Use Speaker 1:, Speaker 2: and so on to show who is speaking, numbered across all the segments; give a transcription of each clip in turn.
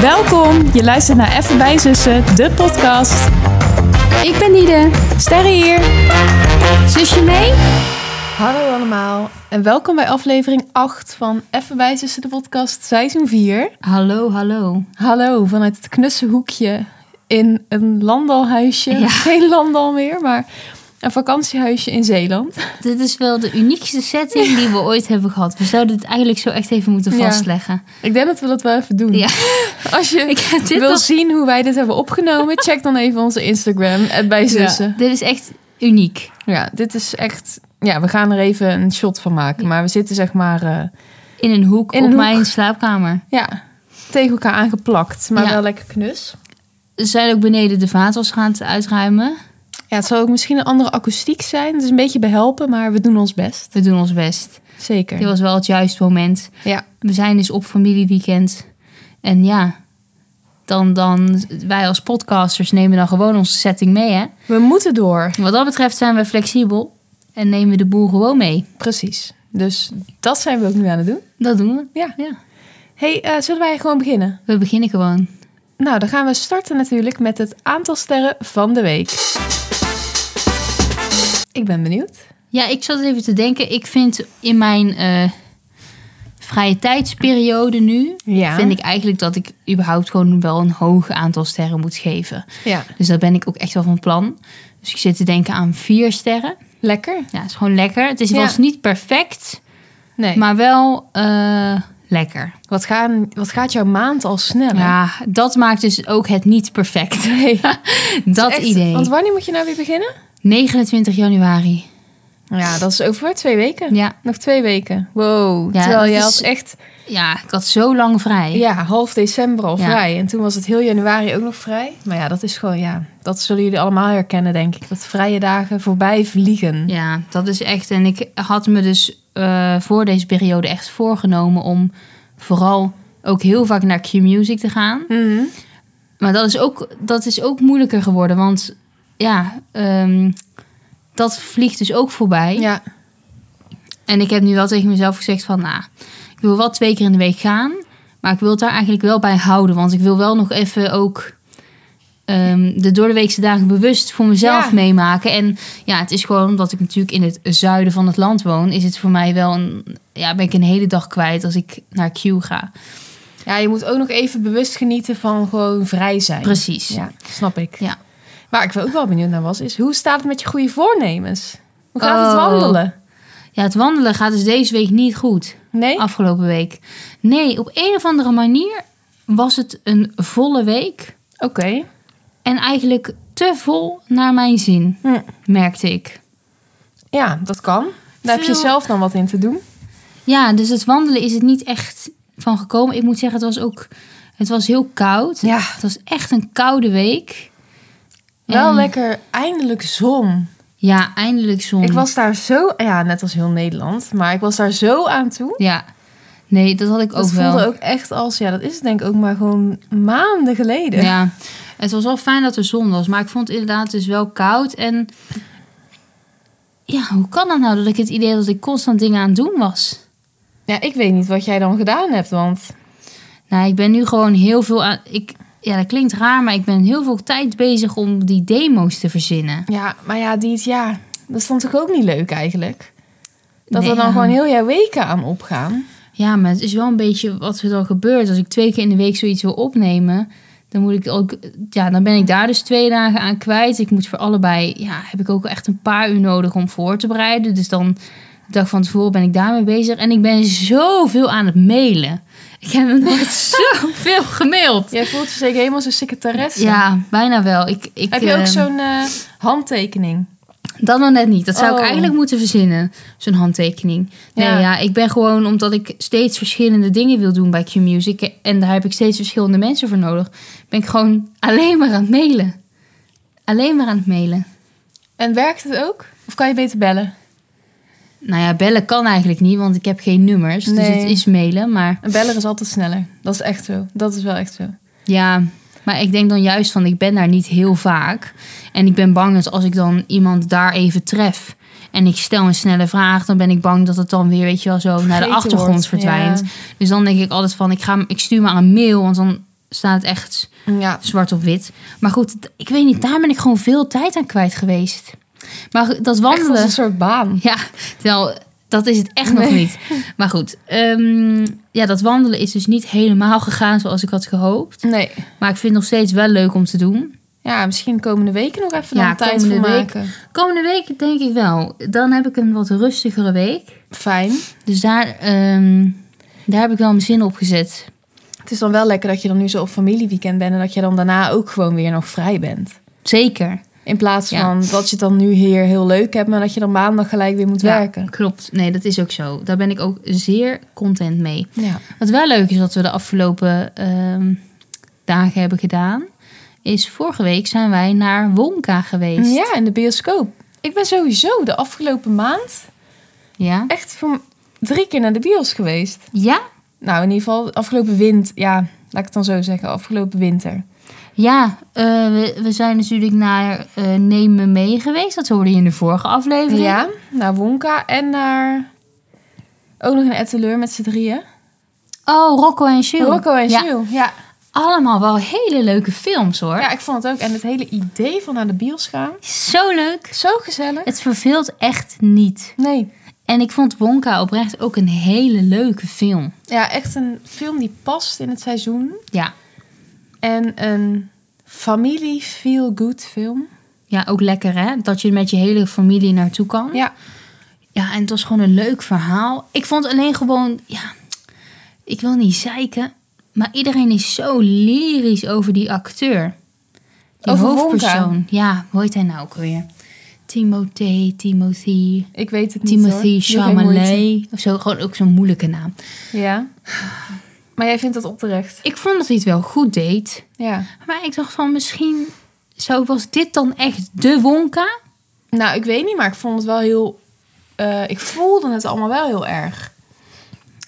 Speaker 1: Welkom, je luistert naar Even bij Zussen, de podcast.
Speaker 2: Ik ben Nide.
Speaker 1: Sterre hier.
Speaker 2: Zusje mee?
Speaker 1: Hallo allemaal en welkom bij aflevering 8 van Even bij Zussen, de podcast, seizoen 4.
Speaker 2: Hallo, hallo.
Speaker 1: Hallo, vanuit het knusse hoekje in een landalhuisje.
Speaker 2: Ja.
Speaker 1: Geen landal meer, maar een vakantiehuisje in Zeeland.
Speaker 2: Dit is wel de uniekste setting die we ooit hebben gehad. We zouden dit eigenlijk zo echt even moeten
Speaker 1: Ja.
Speaker 2: vastleggen.
Speaker 1: Ik denk dat we dat wel even doen.
Speaker 2: Ja.
Speaker 1: Als je
Speaker 2: Ik heb dit
Speaker 1: wil
Speaker 2: nog-
Speaker 1: zien hoe wij dit hebben opgenomen, check dan even onze Instagram, bij Zussen.
Speaker 2: Dit is echt uniek.
Speaker 1: Ja, dit is echt. Ja, we gaan er even een shot van maken. Maar we zitten zeg maar. eh,
Speaker 2: In een hoek
Speaker 1: In
Speaker 2: op
Speaker 1: een
Speaker 2: mijn
Speaker 1: hoek.
Speaker 2: slaapkamer.
Speaker 1: ja, tegen elkaar aangeplakt. Maar
Speaker 2: Ja.
Speaker 1: wel lekker knus.
Speaker 2: Ze zijn ook beneden de vaatwas gaan uitruimen.
Speaker 1: Ja, het zal ook misschien een andere akoestiek zijn. Dus een beetje behelpen, maar we doen ons best.
Speaker 2: We doen ons best.
Speaker 1: Zeker.
Speaker 2: Dit was wel het juiste moment.
Speaker 1: Ja.
Speaker 2: We zijn dus op familieweekend. En ja, dan, dan wij als podcasters nemen dan gewoon onze setting mee. Hè?
Speaker 1: We moeten door.
Speaker 2: Wat dat betreft zijn we flexibel en nemen we de boel gewoon mee.
Speaker 1: Precies. Dus dat zijn we ook nu aan het doen.
Speaker 2: Dat doen we.
Speaker 1: Ja.
Speaker 2: ja.
Speaker 1: hey, eh, zullen wij gewoon beginnen?
Speaker 2: We beginnen gewoon.
Speaker 1: Nou, dan gaan we starten natuurlijk met het aantal sterren van de week. Ik ben benieuwd.
Speaker 2: Ja, ik zat even te denken. Ik vind in mijn eh, vrije tijdsperiode nu...
Speaker 1: Ja.
Speaker 2: vind ik eigenlijk dat ik überhaupt gewoon wel een hoog aantal sterren moet geven.
Speaker 1: Ja.
Speaker 2: Dus daar ben ik ook echt wel van plan. Dus ik zit te denken aan vier sterren.
Speaker 1: Lekker?
Speaker 2: Ja, het is gewoon lekker. Het is,
Speaker 1: Ja.
Speaker 2: was niet perfect,
Speaker 1: Nee.
Speaker 2: maar wel eh, lekker.
Speaker 1: Wat, gaan, wat gaat jouw maand al sneller?
Speaker 2: Ja, dat maakt dus ook het niet perfect.
Speaker 1: Nee.
Speaker 2: dat
Speaker 1: Echt?
Speaker 2: idee.
Speaker 1: Want wanneer moet je nou weer beginnen?
Speaker 2: 29 januari.
Speaker 1: Ja, dat is over twee weken.
Speaker 2: Ja.
Speaker 1: Nog twee weken. Wow.
Speaker 2: Ja,
Speaker 1: Terwijl
Speaker 2: dat
Speaker 1: je
Speaker 2: is-
Speaker 1: had echt
Speaker 2: ja, ik had zo lang vrij.
Speaker 1: ja, half december al
Speaker 2: Ja.
Speaker 1: vrij. En toen was het heel januari ook nog vrij. Maar ja, dat is gewoon, ja, dat zullen jullie allemaal herkennen, denk ik. Dat vrije dagen voorbij vliegen.
Speaker 2: Ja, dat is echt. En ik had me dus eh, voor deze periode echt voorgenomen om vooral ook heel vaak naar Q-Music te gaan.
Speaker 1: Mhm.
Speaker 2: Maar dat is ook, dat is ook moeilijker geworden, want ja, ehm, dat vliegt dus ook voorbij.
Speaker 1: Ja,
Speaker 2: En ik heb nu wel tegen mezelf gezegd van, nou, ik wil wel twee keer in de week gaan, maar ik wil het daar eigenlijk wel bij houden, want ik wil wel nog even ook ehm, de doordeweekse dagen bewust voor mezelf
Speaker 1: Ja.
Speaker 2: meemaken. En ja, het is gewoon omdat ik natuurlijk in het zuiden van het land woon, is het voor mij wel een, ja, ben ik een hele dag kwijt als ik naar Q ga.
Speaker 1: ja, je moet ook nog even bewust genieten van gewoon vrij zijn.
Speaker 2: Precies.
Speaker 1: Ja, snap ik.
Speaker 2: Ja.
Speaker 1: Waar ik wel ook wel benieuwd naar was, is hoe staat het met je goede voornemens? Hoe gaat het
Speaker 2: Oh.
Speaker 1: wandelen?
Speaker 2: Ja, het wandelen gaat dus deze week niet goed.
Speaker 1: Nee?
Speaker 2: Afgelopen week. Nee, op een of andere manier was het een volle week.
Speaker 1: Oké.
Speaker 2: En eigenlijk te vol naar mijn zin,
Speaker 1: Hm.
Speaker 2: merkte ik.
Speaker 1: Ja, dat kan. Daar heb je
Speaker 2: Veel-
Speaker 1: zelf dan wat in te doen.
Speaker 2: Ja, dus het wandelen is het niet echt van gekomen. Ik moet zeggen, het was ook het was heel koud.
Speaker 1: Ja.
Speaker 2: Het was echt een koude week.
Speaker 1: Wel
Speaker 2: En-
Speaker 1: lekker, eindelijk zon.
Speaker 2: Ja, eindelijk zon.
Speaker 1: Ik was daar zo, ja, net als heel Nederland, maar ik was daar zo aan toe.
Speaker 2: Ja. Nee, dat had ik
Speaker 1: Dat
Speaker 2: ook wel.
Speaker 1: voelde ook echt als, ja, dat is het denk ik ook maar gewoon maanden geleden.
Speaker 2: Ja, het was wel fijn dat er zon was, maar ik vond het inderdaad dus wel koud. En ja, hoe kan dat nou dat ik het idee had dat ik constant dingen aan het doen was?
Speaker 1: Ja, ik weet niet wat jij dan gedaan hebt, want
Speaker 2: Nou, ik ben nu gewoon heel veel aan. Ik, ja, dat klinkt raar, maar ik ben heel veel tijd bezig om die demo's te verzinnen.
Speaker 1: ja, maar ja, die, ja, dat is dan toch ook niet leuk eigenlijk? Dat
Speaker 2: Nee,
Speaker 1: er dan
Speaker 2: ja.
Speaker 1: gewoon heel jouw weken aan opgaan.
Speaker 2: Ja, maar het is wel een beetje wat er dan gebeurt. Als ik twee keer in de week zoiets wil opnemen, dan moet ik ook. Ja, dan ben ik daar dus twee dagen aan kwijt. Ik moet voor allebei. Ja, heb ik ook echt een paar uur nodig om voor te bereiden. Dus dan de dag van tevoren ben ik daarmee bezig. En ik ben zoveel aan het mailen. Ik heb nog nooit zoveel gemaild.
Speaker 1: Jij voelt je zeker helemaal zo'n secretaresse.
Speaker 2: Ja, bijna wel. Ik, ik,
Speaker 1: Heb je ook
Speaker 2: ehm,
Speaker 1: zo'n eh, handtekening?
Speaker 2: Dat nog net niet. Dat zou
Speaker 1: Oh.
Speaker 2: ik eigenlijk moeten verzinnen, zo'n handtekening. Nee,
Speaker 1: Ja.
Speaker 2: ja. ik ben gewoon omdat ik steeds verschillende dingen wil doen bij Q-Music... en daar heb ik steeds verschillende mensen voor nodig... ben ik gewoon alleen maar aan het mailen. Alleen maar aan het mailen.
Speaker 1: En werkt het ook? Of kan je beter bellen?
Speaker 2: Nou ja, bellen kan eigenlijk niet, want ik heb geen nummers. Dus
Speaker 1: Nee.
Speaker 2: het is mailen, maar
Speaker 1: Een beller is altijd sneller. Dat is echt zo. Dat is wel echt zo.
Speaker 2: ja... Maar ik denk dan juist van, ik ben daar niet heel vaak. En ik ben bang dat als ik dan iemand daar even tref... en ik stel een snelle vraag, dan ben ik bang dat het dan weer, weet je wel, zo... naar
Speaker 1: Vergeten
Speaker 2: de achtergrond
Speaker 1: wordt.
Speaker 2: verdwijnt.
Speaker 1: Ja.
Speaker 2: Dus dan denk ik altijd van, ik, ga, ik stuur maar een mail, want dan staat het echt
Speaker 1: Ja.
Speaker 2: zwart op wit. Maar goed, d- ik weet niet, daar ben ik gewoon veel tijd aan kwijt geweest. Maar goed, dat
Speaker 1: Echt als
Speaker 2: wandelen.
Speaker 1: een soort baan.
Speaker 2: Ja, terwijl dat is het echt nog
Speaker 1: Nee.
Speaker 2: niet. Maar goed, ehm, ja, dat wandelen is dus niet helemaal gegaan zoals ik had gehoopt.
Speaker 1: Nee.
Speaker 2: Maar ik vind het nog steeds wel leuk om te doen.
Speaker 1: Ja, misschien komende weken nog even
Speaker 2: Ja,
Speaker 1: dan tijd voor
Speaker 2: komende week.
Speaker 1: maken.
Speaker 2: Komende week denk ik wel. Dan heb ik een wat rustigere week.
Speaker 1: Fijn.
Speaker 2: Dus daar, ehm, daar heb ik wel mijn zin op gezet.
Speaker 1: Het is dan wel lekker dat je dan nu zo op familieweekend bent en dat je dan daarna ook gewoon weer nog vrij bent.
Speaker 2: Zeker.
Speaker 1: In plaats
Speaker 2: Ja.
Speaker 1: van dat je het dan nu hier heel leuk hebt, maar dat je dan maandag gelijk weer moet
Speaker 2: Ja,
Speaker 1: werken.
Speaker 2: Klopt. Nee, dat is ook zo. Daar ben ik ook zeer content mee.
Speaker 1: Ja.
Speaker 2: Wat wel leuk is wat we de afgelopen ehm, dagen hebben gedaan, is vorige week zijn wij naar Wonka geweest.
Speaker 1: Mm, ja, in de bioscoop. Ik ben sowieso de afgelopen maand
Speaker 2: Ja?
Speaker 1: echt voor m- drie keer naar de bios geweest.
Speaker 2: Ja?
Speaker 1: Nou, in ieder geval afgelopen winter. Ja, laat ik het dan zo zeggen. Afgelopen winter.
Speaker 2: Ja, eh, we, we zijn natuurlijk naar eh Neem Me Mee geweest. Dat hoorde je in de vorige aflevering.
Speaker 1: Ja, naar Wonka en naar... Ook nog een Etteleur met z'n drieën.
Speaker 2: Oh, Rocco en Shu.
Speaker 1: Rocco en
Speaker 2: Ja.
Speaker 1: Sue. Ja.
Speaker 2: Allemaal wel hele leuke films hoor.
Speaker 1: ja, ik vond het ook. En het hele idee van naar de bios gaan.
Speaker 2: Zo leuk.
Speaker 1: Zo gezellig.
Speaker 2: Het verveelt echt niet.
Speaker 1: Nee,
Speaker 2: En ik vond Wonka oprecht ook een hele leuke film.
Speaker 1: Ja, echt een film die past in het seizoen.
Speaker 2: Ja,
Speaker 1: En een familie feel-good film.
Speaker 2: ja ook lekker hè. Dat je met je hele familie naartoe kan.
Speaker 1: Ja,
Speaker 2: Ja, en het was gewoon een leuk verhaal. Ik vond alleen gewoon, ja, ik wil niet zeiken, maar iedereen is zo lyrisch over die acteur. Die
Speaker 1: Over
Speaker 2: hoofdpersoon. Ja, hoe heet hij nou ook weer? Timothée, Timothy,
Speaker 1: ik weet het niet hoor.
Speaker 2: Timothy
Speaker 1: Doe geen moeite.
Speaker 2: Chalamet. Of zo, gewoon ook zo'n moeilijke naam.
Speaker 1: Ja. Maar jij vindt dat opterecht.
Speaker 2: Ik vond dat hij het wel goed deed.
Speaker 1: Ja.
Speaker 2: Maar ik dacht van, misschien zo was dit dan echt de Wonka?
Speaker 1: Nou, ik weet niet, maar ik vond het wel heel... eh, ik voelde het allemaal wel heel erg.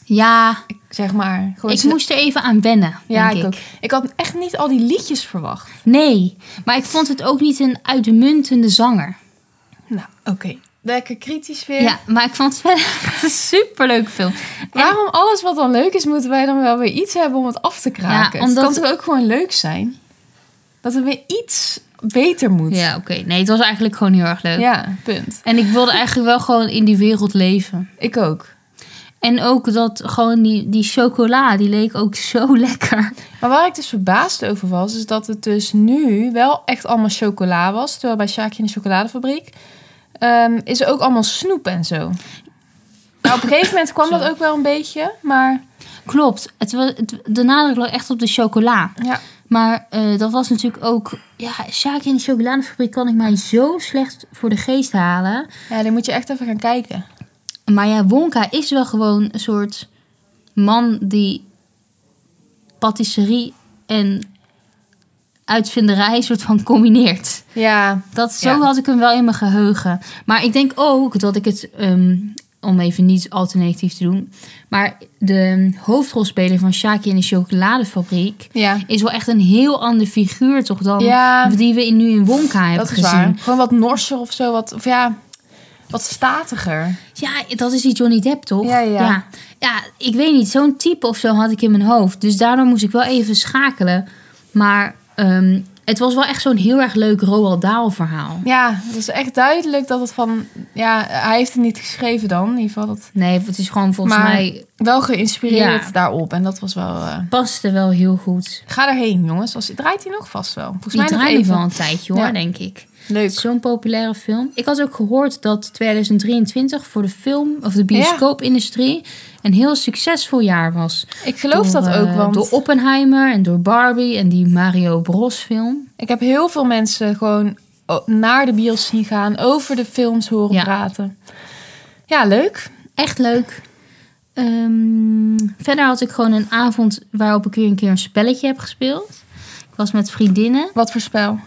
Speaker 2: Ja,
Speaker 1: Ik, zeg maar. Gewoon
Speaker 2: ik
Speaker 1: ze-
Speaker 2: moest er even aan wennen,
Speaker 1: Ja,
Speaker 2: denk
Speaker 1: ik
Speaker 2: ik.
Speaker 1: ook. Ik had echt niet al die liedjes verwacht.
Speaker 2: Nee, maar ik vond het ook niet een uitmuntende zanger.
Speaker 1: Nou, oké. Lekker kritisch weer.
Speaker 2: Ja, maar ik vond het verder echt een superleuke film.
Speaker 1: Waarom alles wat dan leuk is, moeten wij dan wel weer iets hebben om het af te kraken?
Speaker 2: Ja, omdat-
Speaker 1: Het kan toch ook gewoon leuk zijn? Dat er weer iets beter moet.
Speaker 2: Ja, oké. Nee, het was eigenlijk gewoon heel erg leuk.
Speaker 1: Ja, punt.
Speaker 2: En ik wilde eigenlijk wel gewoon in die wereld leven.
Speaker 1: Ik ook.
Speaker 2: En ook dat gewoon die, die chocola, die leek ook zo lekker.
Speaker 1: Maar waar ik dus verbaasd over was, is dat het dus nu wel echt allemaal chocola was. Terwijl bij Sjaakje in de chocoladefabriek ehm, is er ook allemaal snoep en zo. Nou, op een gegeven moment kwam dat
Speaker 2: Sorry.
Speaker 1: ook wel een beetje, maar
Speaker 2: Klopt, het was, het- de nadruk lag echt op de chocola.
Speaker 1: ja.
Speaker 2: Maar eh, dat was natuurlijk ook... Ja, Sjaakje in de chocoladefabriek kan ik mij zo slecht voor de geest halen.
Speaker 1: ja, die moet je echt even gaan kijken.
Speaker 2: Maar ja, Wonka is wel gewoon een soort man die patisserie en uitvinderij soort van combineert.
Speaker 1: Ja,
Speaker 2: Dat, zo
Speaker 1: Ja.
Speaker 2: had ik hem wel in mijn geheugen. Maar ik denk ook dat ik het, ehm, om even niet alternatief te doen, maar de hoofdrolspeler van Sjaakje in de chocoladefabriek
Speaker 1: ja.
Speaker 2: is wel echt een heel ander figuur toch dan
Speaker 1: Ja,
Speaker 2: die we in, nu in Wonka hebben
Speaker 1: dat is
Speaker 2: gezien.
Speaker 1: waar. Gewoon wat norser of zo, wat, of ja, wat statiger.
Speaker 2: Ja, dat is die Johnny Depp, toch?
Speaker 1: Ja, ja.
Speaker 2: ja. Ja, ik weet niet. Zo'n type of zo had ik in mijn hoofd. Dus daardoor moest ik wel even schakelen. Maar ehm, het was wel echt zo'n heel erg leuk Roald Dahl verhaal.
Speaker 1: Ja, het is echt duidelijk dat het van... Ja, hij heeft het niet geschreven dan, in ieder geval. Dat
Speaker 2: Nee, het is gewoon volgens
Speaker 1: Maar-
Speaker 2: mij...
Speaker 1: wel geïnspireerd
Speaker 2: Ja.
Speaker 1: daarop. En dat was wel... eh,
Speaker 2: Paste wel heel goed.
Speaker 1: Ga erheen, jongens. Als, draait hij nog vast wel. Volgens
Speaker 2: Die
Speaker 1: mij nog
Speaker 2: draaide
Speaker 1: even.
Speaker 2: wel een tijdje, hoor,
Speaker 1: Ja.
Speaker 2: denk ik.
Speaker 1: Leuk.
Speaker 2: Zo'n populaire film. Ik had ook gehoord dat 2023 voor de film... of de bioscoopindustrie... een heel succesvol jaar was.
Speaker 1: Ik geloof
Speaker 2: Door,
Speaker 1: dat ook,
Speaker 2: eh,
Speaker 1: want
Speaker 2: Door Oppenheimer en door Barbie en die Mario Bros film.
Speaker 1: ik heb heel veel mensen gewoon o- naar de bios zien gaan, over de films horen
Speaker 2: Ja.
Speaker 1: praten. Ja, leuk.
Speaker 2: Echt leuk. Ehm, verder had ik gewoon een avond waarop ik weer een keer een spelletje heb gespeeld. Ik was met vriendinnen.
Speaker 1: Wat voor spel?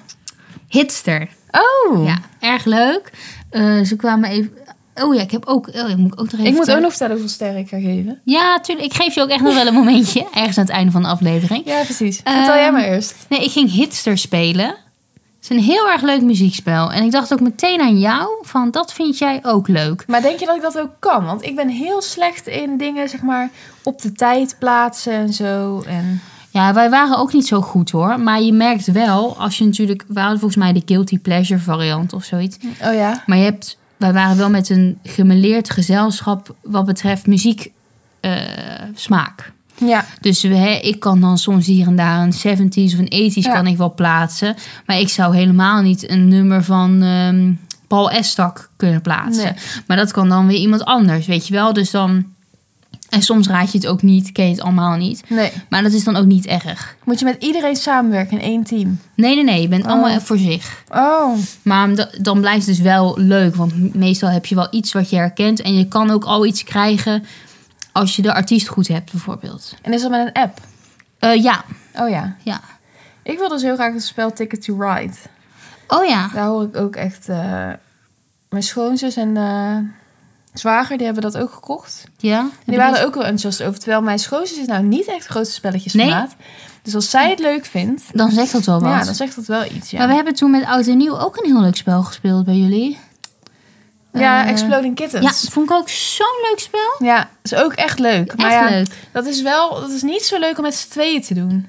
Speaker 2: Hitster.
Speaker 1: Oh,
Speaker 2: Ja, erg leuk. Eh, ze kwamen even... Oh ja, ik heb ook... Oh, ik moet ook nog
Speaker 1: ik
Speaker 2: even
Speaker 1: moet ook
Speaker 2: vertellen.
Speaker 1: nog vertellen hoeveel sterren ik ga geven.
Speaker 2: Ja, tuurlijk. Ik geef je ook echt nog wel een momentje. Ergens aan het einde van de aflevering.
Speaker 1: Ja, precies. Vertel jij
Speaker 2: Ehm,
Speaker 1: maar eerst.
Speaker 2: Nee, ik ging Hitster spelen. Het is een heel erg leuk muziekspel. En ik dacht ook meteen aan jou. Van, dat vind jij ook leuk.
Speaker 1: Maar denk je dat ik dat ook kan? Want ik ben heel slecht in dingen, zeg maar, op de tijd plaatsen en zo. En...
Speaker 2: Ja, wij waren ook niet zo goed hoor. Maar je merkt wel, als je natuurlijk... We hadden volgens mij de guilty pleasure variant of zoiets.
Speaker 1: Oh ja?
Speaker 2: Maar je hebt, wij waren wel met een gemeleerd gezelschap wat betreft muziek eh, smaak.
Speaker 1: Ja.
Speaker 2: Dus we, hè, ik kan dan soms hier en daar een 70s of een 80s
Speaker 1: Ja.
Speaker 2: kan ik wel plaatsen. Maar ik zou helemaal niet een nummer van ehm, Paul Estak kunnen plaatsen.
Speaker 1: Nee.
Speaker 2: Maar dat kan dan weer iemand anders, weet je wel. Dus dan... En soms raad je het ook niet, ken je het allemaal niet.
Speaker 1: Nee.
Speaker 2: Maar dat is dan ook niet erg.
Speaker 1: Moet je met iedereen samenwerken in één team?
Speaker 2: Nee, nee, nee. Je bent
Speaker 1: Oh.
Speaker 2: allemaal voor zich.
Speaker 1: Oh.
Speaker 2: Maar da- dan blijft het dus wel leuk. Want meestal heb je wel iets wat je herkent. En je kan ook al iets krijgen als je de artiest goed hebt, bijvoorbeeld.
Speaker 1: En is dat met een app?
Speaker 2: Eh, ja,
Speaker 1: Oh ja.
Speaker 2: ja.
Speaker 1: Ik wil dus heel graag het spel Ticket to Ride.
Speaker 2: Oh ja.
Speaker 1: Daar hoor ik ook echt... eh, mijn schoonzus en eh, zwager, die hebben dat ook gekocht.
Speaker 2: Ja.
Speaker 1: En die waren er ook wel enthousiast over. Terwijl mijn schoonzus is nou niet echt grote spelletjes
Speaker 2: Nee.
Speaker 1: gemaakt. Dus als zij het leuk vindt,
Speaker 2: Dan zegt dat wel wat.
Speaker 1: ja, dan zegt dat wel iets. Ja,
Speaker 2: Maar we hebben toen met Oud en Nieuw ook een heel leuk spel gespeeld bij jullie.
Speaker 1: ja
Speaker 2: eh,
Speaker 1: Exploding
Speaker 2: Ja,
Speaker 1: Kittens.
Speaker 2: vond ik ook zo'n leuk spel.
Speaker 1: Ja. is ook echt leuk.
Speaker 2: Echt
Speaker 1: maar ja,
Speaker 2: leuk.
Speaker 1: dat is wel, dat is niet zo leuk om met z'n tweeën te doen.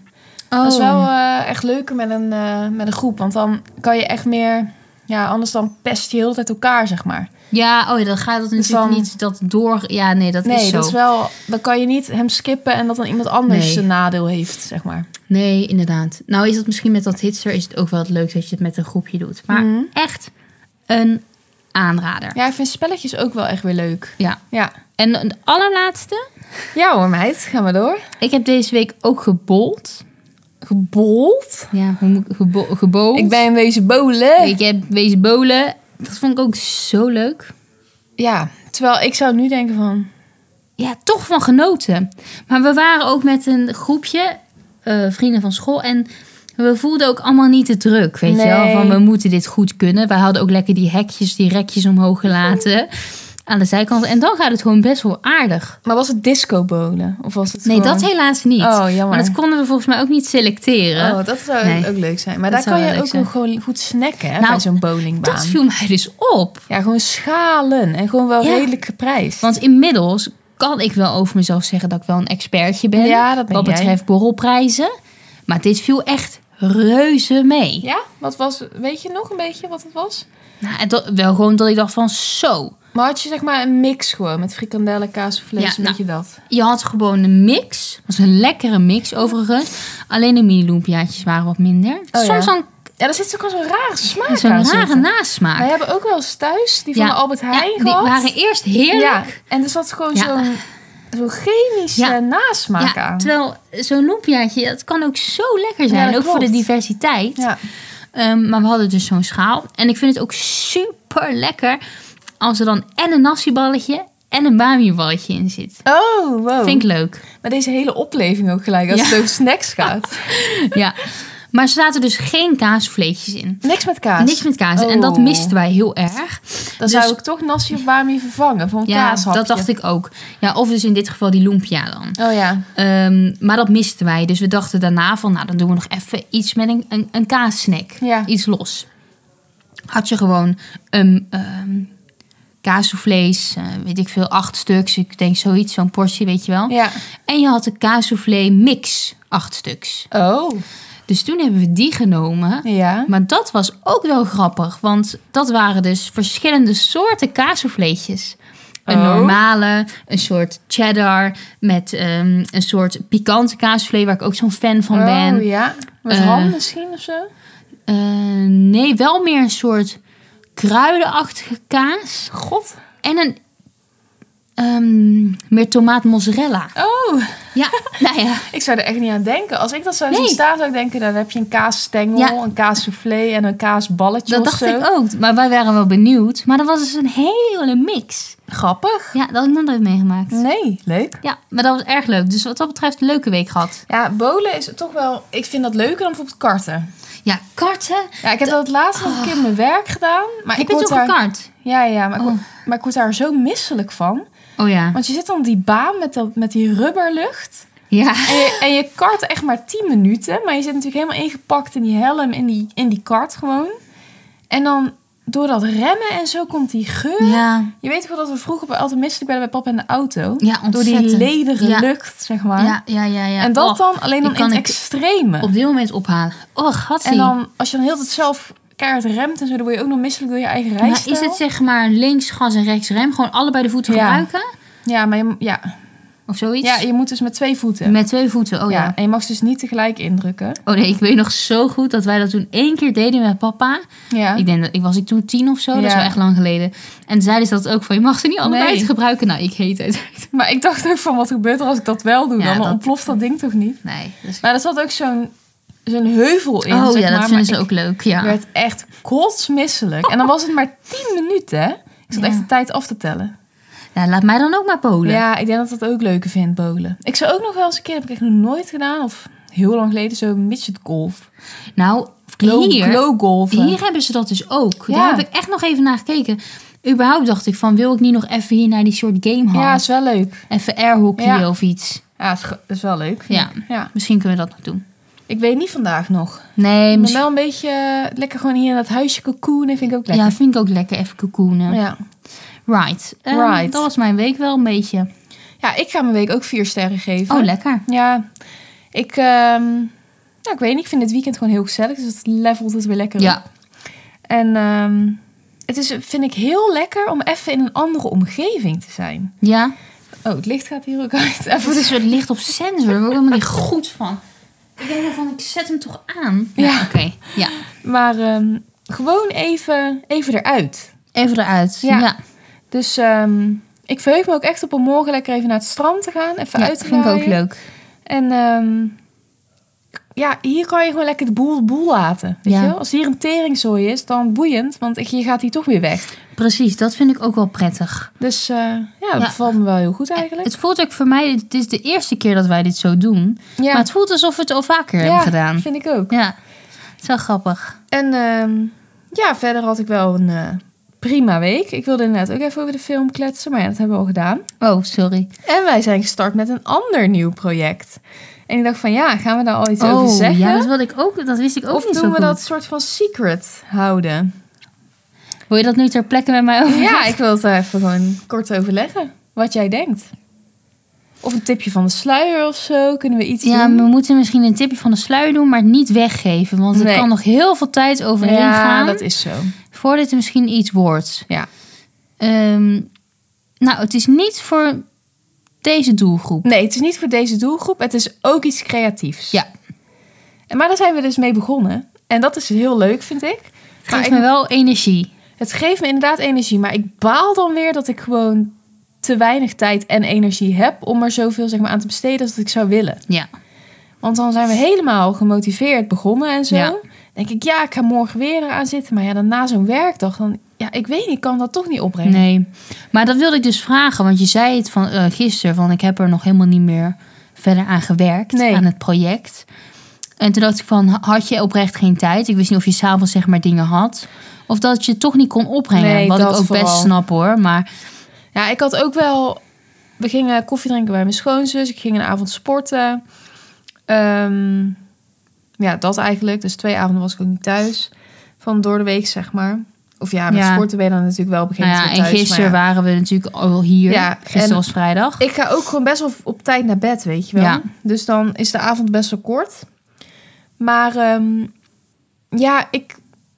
Speaker 2: Oh.
Speaker 1: Dat is wel eh, echt leuker met een, eh, met een groep. Want dan kan je echt meer... Ja, anders dan pest je heel de tijd elkaar, zeg maar.
Speaker 2: Ja, oh ja, dan gaat dat natuurlijk
Speaker 1: dan-
Speaker 2: niet dat door... Ja, nee, dat
Speaker 1: nee,
Speaker 2: is zo.
Speaker 1: dat is wel... Dan kan je niet hem skippen en dat dan iemand anders
Speaker 2: Nee.
Speaker 1: een nadeel heeft, zeg maar.
Speaker 2: Nee, inderdaad. Nou is het misschien met dat hitster is het ook wel het leuk dat je het met een groepje doet. Maar
Speaker 1: Mhm.
Speaker 2: echt een aanrader. Ja.
Speaker 1: Ja, ik vind spelletjes ook wel echt weer leuk. Ja.
Speaker 2: En de allerlaatste.
Speaker 1: Ja hoor, meid. Gaan we door.
Speaker 2: Ik heb deze week ook gebold.
Speaker 1: Gebold?
Speaker 2: Ja, hoe moet ik- gebo gebold.
Speaker 1: Ik ben een wezen bolen.
Speaker 2: Ik heb wezen bolen. Dat vond ik ook zo leuk.
Speaker 1: Ja, terwijl ik zou nu denken van...
Speaker 2: Ja, toch van genoten. Maar we waren ook met een groepje eh, vrienden van school en we voelden ook allemaal niet de druk, weet je wel?
Speaker 1: Nee.
Speaker 2: Van we moeten dit goed kunnen. Wij hadden ook lekker die hekjes, die rekjes omhoog gelaten aan de zijkant. En dan gaat het gewoon best wel aardig.
Speaker 1: Maar was het disco bolen? Of was het
Speaker 2: Nee,
Speaker 1: gewoon-
Speaker 2: dat helaas niet.
Speaker 1: Oh, jammer.
Speaker 2: Maar dat konden we volgens mij ook niet selecteren.
Speaker 1: Oh, dat zou
Speaker 2: Nee.
Speaker 1: ook leuk zijn. Maar
Speaker 2: Dat
Speaker 1: daar
Speaker 2: zou
Speaker 1: kan
Speaker 2: wel
Speaker 1: je
Speaker 2: leuk
Speaker 1: ook
Speaker 2: zijn.
Speaker 1: nog gewoon goed snacken hè,
Speaker 2: Nou,
Speaker 1: bij zo'n bowlingbaan.
Speaker 2: dat viel mij dus op.
Speaker 1: Ja, gewoon schalen en gewoon wel
Speaker 2: Ja.
Speaker 1: redelijk geprijsd.
Speaker 2: Want inmiddels kan ik wel over mezelf zeggen dat ik wel een expertje ben.
Speaker 1: Ja, dat ben
Speaker 2: wat
Speaker 1: jij.
Speaker 2: betreft borrelprijzen. Maar dit viel echt reuze mee.
Speaker 1: Ja, wat was... Weet je nog een beetje wat het was?
Speaker 2: Nou, en dat, wel gewoon dat ik dacht van zo.
Speaker 1: Maar had je zeg maar een mix gewoon met frikandellen, kaas of vlees,
Speaker 2: Ja, nou.
Speaker 1: weet je dat?
Speaker 2: Je had gewoon een mix. was een lekkere mix overigens. Alleen de mini loempiaatjes waren wat minder.
Speaker 1: Oh, ja.
Speaker 2: Soms dan
Speaker 1: Ja, daar zit ook al zo'n rare smaak
Speaker 2: zo'n
Speaker 1: aan
Speaker 2: rare
Speaker 1: zitten.
Speaker 2: nasmaak.
Speaker 1: Wij hebben ook wel eens thuis die
Speaker 2: Ja.
Speaker 1: van de Albert Heijn
Speaker 2: ja, die
Speaker 1: gehad.
Speaker 2: waren eerst heerlijk.
Speaker 1: Ja, en er zat gewoon
Speaker 2: Ja.
Speaker 1: zo'n zo'n chemische
Speaker 2: Ja.
Speaker 1: nasmaak
Speaker 2: Ja,
Speaker 1: aan.
Speaker 2: terwijl zo'n loempiaatje, dat kan ook zo lekker zijn.
Speaker 1: dat
Speaker 2: ook voor de
Speaker 1: klopt.
Speaker 2: diversiteit.
Speaker 1: Ja.
Speaker 2: Ehm, maar we hadden dus zo'n schaal. En ik vind het ook super lekker als er dan en een nasiballetje en een bamieballetje in zit.
Speaker 1: Oh, wow.
Speaker 2: Vind ik leuk.
Speaker 1: Maar deze hele opleving ook gelijk, als
Speaker 2: Ja.
Speaker 1: het over snacks gaat.
Speaker 2: ja. Maar er zaten dus geen kaasvleetjes in.
Speaker 1: Niks met kaas.
Speaker 2: Niks met kaas. En dat
Speaker 1: Oh.
Speaker 2: misten wij heel erg.
Speaker 1: Dan zou ik toch nasi of bami vervangen voor een
Speaker 2: ja,
Speaker 1: kaashapje.
Speaker 2: dat dacht ik ook. Ja, of dus in dit geval die lumpia dan.
Speaker 1: Oh ja.
Speaker 2: Ehm, maar dat misten wij. Dus we dachten daarna van, nou dan doen we nog even iets met een, een, een kaassnack.
Speaker 1: Ja.
Speaker 2: Iets los. Had je gewoon een ehm kaassoufflés, eh, weet ik veel, acht stuks. Ik denk zoiets, zo'n portie, weet je wel.
Speaker 1: Ja.
Speaker 2: En je had een kaassoufflé mix, acht stuks.
Speaker 1: Oh.
Speaker 2: Dus toen hebben we die genomen.
Speaker 1: Ja.
Speaker 2: Maar dat was ook wel grappig, want dat waren dus verschillende soorten kaassouffleetjes. Een
Speaker 1: Oh.
Speaker 2: normale, een soort cheddar met ehm, een soort pikante kaassoufflé, waar ik ook zo'n fan van ben.
Speaker 1: Oh ja. Met
Speaker 2: Eh.
Speaker 1: ham misschien of zo?
Speaker 2: Eh, nee, wel meer een soort kruidenachtige kaas.
Speaker 1: God.
Speaker 2: En een ehm, meer tomaat mozzarella.
Speaker 1: Oh.
Speaker 2: Ja, nou ja.
Speaker 1: Ik zou er echt niet aan denken. Als ik dat zou
Speaker 2: Nee.
Speaker 1: zien staan, zou ik denken... dan heb je een kaasstengel,
Speaker 2: Ja.
Speaker 1: een kaassoufflé en een kaasballetje
Speaker 2: Dat
Speaker 1: of
Speaker 2: dacht
Speaker 1: zo.
Speaker 2: ik ook, maar wij waren wel benieuwd. Maar dat was dus een hele mix.
Speaker 1: Grappig.
Speaker 2: Ja, dat had ik nog nooit meegemaakt.
Speaker 1: Nee, leuk.
Speaker 2: Ja, maar dat was erg leuk. Dus wat dat betreft, leuke week gehad.
Speaker 1: Ja, bolen is toch wel... Ik vind dat leuker dan bijvoorbeeld karten.
Speaker 2: Ja, karten.
Speaker 1: Ja, ik heb dat laatst nog een
Speaker 2: Ah.
Speaker 1: keer op mijn werk gedaan. Maar
Speaker 2: Ik
Speaker 1: ik
Speaker 2: ben
Speaker 1: word
Speaker 2: toen
Speaker 1: daar...
Speaker 2: gekart.
Speaker 1: Ja, ja, maar, ik,
Speaker 2: Oh.
Speaker 1: word- maar ik word daar zo misselijk van.
Speaker 2: Oh ja.
Speaker 1: Want je zit dan op die baan met, dat, met die rubberlucht.
Speaker 2: Ja.
Speaker 1: En je, en je kart echt maar 10 minuten. Maar je zit natuurlijk helemaal ingepakt in die helm, in die, in die kart gewoon. En dan door dat remmen en zo komt die geur.
Speaker 2: Ja,
Speaker 1: Je weet wel dat we vroeger bij altijd misselijk werden bij papa in de auto.
Speaker 2: ja
Speaker 1: Door die
Speaker 2: ontzettend.
Speaker 1: lederen
Speaker 2: ja.
Speaker 1: lucht, zeg maar.
Speaker 2: Ja, ja, ja. ja.
Speaker 1: En dat
Speaker 2: Oh,
Speaker 1: dan alleen dan
Speaker 2: die
Speaker 1: in het
Speaker 2: kan ik
Speaker 1: extreme.
Speaker 2: op dit moment ophalen. Oh, gatsie.
Speaker 1: En dan, als je dan heel de tijd zelf keihard remt en zo, dan word je ook nog misselijk door je eigen
Speaker 2: Maar
Speaker 1: reis.
Speaker 2: is het zeg maar links gas en rechts rem? Gewoon allebei de voeten
Speaker 1: Ja.
Speaker 2: gebruiken?
Speaker 1: Ja, maar je, ja.
Speaker 2: Of zoiets?
Speaker 1: ja, je moet dus met twee voeten.
Speaker 2: Met twee voeten, oh ja.
Speaker 1: En je mag ze dus niet tegelijk indrukken.
Speaker 2: Oh nee, ik weet nog zo goed dat wij dat toen één keer deden met papa.
Speaker 1: Ja.
Speaker 2: Ik denk dat ik was ik toen tien of zo, dat is
Speaker 1: Ja.
Speaker 2: wel echt lang geleden. En zeiden ze dat ook van je mag ze niet allebei
Speaker 1: Nee.
Speaker 2: gebruiken. Nou, ik heet het.
Speaker 1: Maar ik dacht ook van, wat gebeurt er als ik dat wel doe?
Speaker 2: Ja,
Speaker 1: dan
Speaker 2: dat-
Speaker 1: ontploft dat ding toch niet?
Speaker 2: Nee. dat is-
Speaker 1: Maar er zat ook zo'n zo'n heuvel in.
Speaker 2: oh
Speaker 1: zeg
Speaker 2: ja,
Speaker 1: maar,
Speaker 2: dat
Speaker 1: maar
Speaker 2: vinden ze
Speaker 1: ik
Speaker 2: ook leuk. Ja.
Speaker 1: werd echt kotsmisselijk. En dan was het maar tien minuten, hè? Ik zat
Speaker 2: Ja.
Speaker 1: echt de tijd af te tellen.
Speaker 2: Ja, laat mij dan ook maar polen.
Speaker 1: Ja, ik denk dat dat ook leuker vindt, bolen. Ik zou ook nog wel eens een keer, heb ik echt nog nooit gedaan, of heel lang geleden, zo midget golf.
Speaker 2: Nou,
Speaker 1: Glow,
Speaker 2: hier,
Speaker 1: glow golfen.
Speaker 2: hier hebben ze dat dus ook.
Speaker 1: Ja.
Speaker 2: Daar heb ik echt nog even naar gekeken. Überhaupt dacht ik van, wil ik niet nog even hier naar die soort game
Speaker 1: Ja,
Speaker 2: halen?
Speaker 1: is wel leuk.
Speaker 2: even airhockey
Speaker 1: Ja.
Speaker 2: of iets.
Speaker 1: Ja, is, ge- is wel leuk. vind
Speaker 2: Ja.
Speaker 1: ik. ja.
Speaker 2: Misschien kunnen we dat nog doen.
Speaker 1: Ik weet niet vandaag nog.
Speaker 2: Nee,
Speaker 1: Ik ben
Speaker 2: misschien...
Speaker 1: wel een beetje eh, lekker gewoon hier in dat huisje cocoonen, vind ik ook
Speaker 2: Ja,
Speaker 1: lekker.
Speaker 2: vind ik ook lekker. Even cocoonen.
Speaker 1: ja.
Speaker 2: Right. Ehm,
Speaker 1: Right.
Speaker 2: Dat was mijn week wel een beetje.
Speaker 1: Ja, ik ga mijn week ook vier sterren geven.
Speaker 2: Oh, lekker.
Speaker 1: Ja, ik, ehm, ja, ik weet niet. Ik vind het weekend gewoon heel gezellig. Dus het levelt het weer lekker op.
Speaker 2: Ja.
Speaker 1: En ehm, het is, vind ik, heel lekker om even in een andere omgeving te zijn.
Speaker 2: Ja.
Speaker 1: Oh, het licht gaat hier ook uit.
Speaker 2: Of het
Speaker 1: Even, dus-
Speaker 2: is weer licht op sensor. Daar word ik helemaal niet goed van. Ik denk van, ik zet hem toch aan?
Speaker 1: Ja.
Speaker 2: Oké. Ja.
Speaker 1: maar ehm, gewoon even, even eruit.
Speaker 2: Even eruit.
Speaker 1: Ja.
Speaker 2: Ja.
Speaker 1: Dus ehm, ik verheug me ook echt op om morgen lekker even naar het strand te gaan. Even
Speaker 2: Ja,
Speaker 1: uit te
Speaker 2: vind ik ook
Speaker 1: waaien.
Speaker 2: leuk.
Speaker 1: En ehm, ja, hier kan je gewoon lekker de boel, boel laten. Weet
Speaker 2: Ja.
Speaker 1: je? wel? Als hier een teringzooi is, dan boeiend. Want ik- je gaat hier toch weer weg.
Speaker 2: Precies, dat vind ik ook wel prettig.
Speaker 1: Dus eh, ja, dat
Speaker 2: Ja.
Speaker 1: bevalt me wel heel goed eigenlijk.
Speaker 2: Het voelt ook voor mij, het is de eerste keer dat wij dit zo doen.
Speaker 1: ja,
Speaker 2: Maar het voelt alsof we het al vaker
Speaker 1: Ja,
Speaker 2: hebben gedaan.
Speaker 1: vind ik ook.
Speaker 2: Ja, het is wel grappig.
Speaker 1: En ehm, ja, verder had ik wel een eh, prima week. Ik wilde inderdaad ook even over de film kletsen. Maar ja, dat hebben we al gedaan.
Speaker 2: Oh, sorry.
Speaker 1: En wij zijn gestart met een ander nieuw project. En ik dacht van ja, gaan we daar al iets over
Speaker 2: oh,
Speaker 1: zeggen?
Speaker 2: ja, dat, wilde ik ook, dat wist ik ook
Speaker 1: of
Speaker 2: niet
Speaker 1: doen
Speaker 2: zo
Speaker 1: we
Speaker 2: goed.
Speaker 1: dat soort van secret houden?
Speaker 2: Wil je dat nu ter plekke met mij over?
Speaker 1: Ja, ik wil het daar even gewoon kort overleggen. Wat jij denkt. Of een tipje van de sluier of zo. Kunnen we iets
Speaker 2: Ja, we
Speaker 1: doen?
Speaker 2: moeten misschien een tipje van de sluier doen, maar het niet weggeven. Want
Speaker 1: Nee.
Speaker 2: er kan nog heel veel tijd overheen
Speaker 1: ja,
Speaker 2: gaan
Speaker 1: dat is zo.
Speaker 2: voordat het misschien iets wordt.
Speaker 1: Ja.
Speaker 2: Ehm, nou, het is niet voor deze doelgroep.
Speaker 1: Nee, het is niet voor deze doelgroep. Het is ook iets creatiefs.
Speaker 2: Ja.
Speaker 1: En- Maar daar zijn we dus mee begonnen. En dat is heel leuk, vind ik.
Speaker 2: Het
Speaker 1: Maar
Speaker 2: geeft
Speaker 1: ik-
Speaker 2: me wel energie.
Speaker 1: Het geeft me inderdaad energie. Maar ik baal dan weer dat ik gewoon te weinig tijd en energie heb... om er zoveel zeg maar, aan te besteden als dat ik zou willen.
Speaker 2: Ja.
Speaker 1: Want dan zijn we helemaal gemotiveerd begonnen en zo.
Speaker 2: Ja.
Speaker 1: Dan denk ik, ja, ik ga morgen weer eraan zitten. Maar ja, dan na zo'n werkdag, dan, ja, ik weet niet, ik kan dat toch niet opbrengen.
Speaker 2: Nee. Maar dat wilde ik dus vragen, want je zei het van eh, gisteren, van ik heb er nog helemaal niet meer verder aan gewerkt,
Speaker 1: Nee.
Speaker 2: aan het project. En toen dacht ik van, ha- had je oprecht geen tijd? Ik wist niet of je s'avonds zeg maar dingen had. Of dat je het toch niet kon opbrengen.
Speaker 1: Nee,
Speaker 2: wat ik
Speaker 1: dat
Speaker 2: ook best
Speaker 1: vooral.
Speaker 2: snap hoor. Maar
Speaker 1: Ja, ik had ook wel, we gingen koffie drinken bij mijn schoonzus. Ik ging een avond sporten. Ehm, ja, dat eigenlijk. Dus twee avonden was ik ook niet thuis. Van door de week, zeg maar. Of ja, met
Speaker 2: Ja.
Speaker 1: sporten ben je dan natuurlijk wel begin
Speaker 2: nou ja,
Speaker 1: thuis.
Speaker 2: en
Speaker 1: maar
Speaker 2: gisteren
Speaker 1: ja.
Speaker 2: waren we natuurlijk al hier.
Speaker 1: Ja,
Speaker 2: gisteren
Speaker 1: en-
Speaker 2: was vrijdag.
Speaker 1: Ik ga ook gewoon best wel op tijd naar bed, weet je wel.
Speaker 2: Ja.
Speaker 1: Dus dan is de avond best wel kort. Maar ehm, ja, ik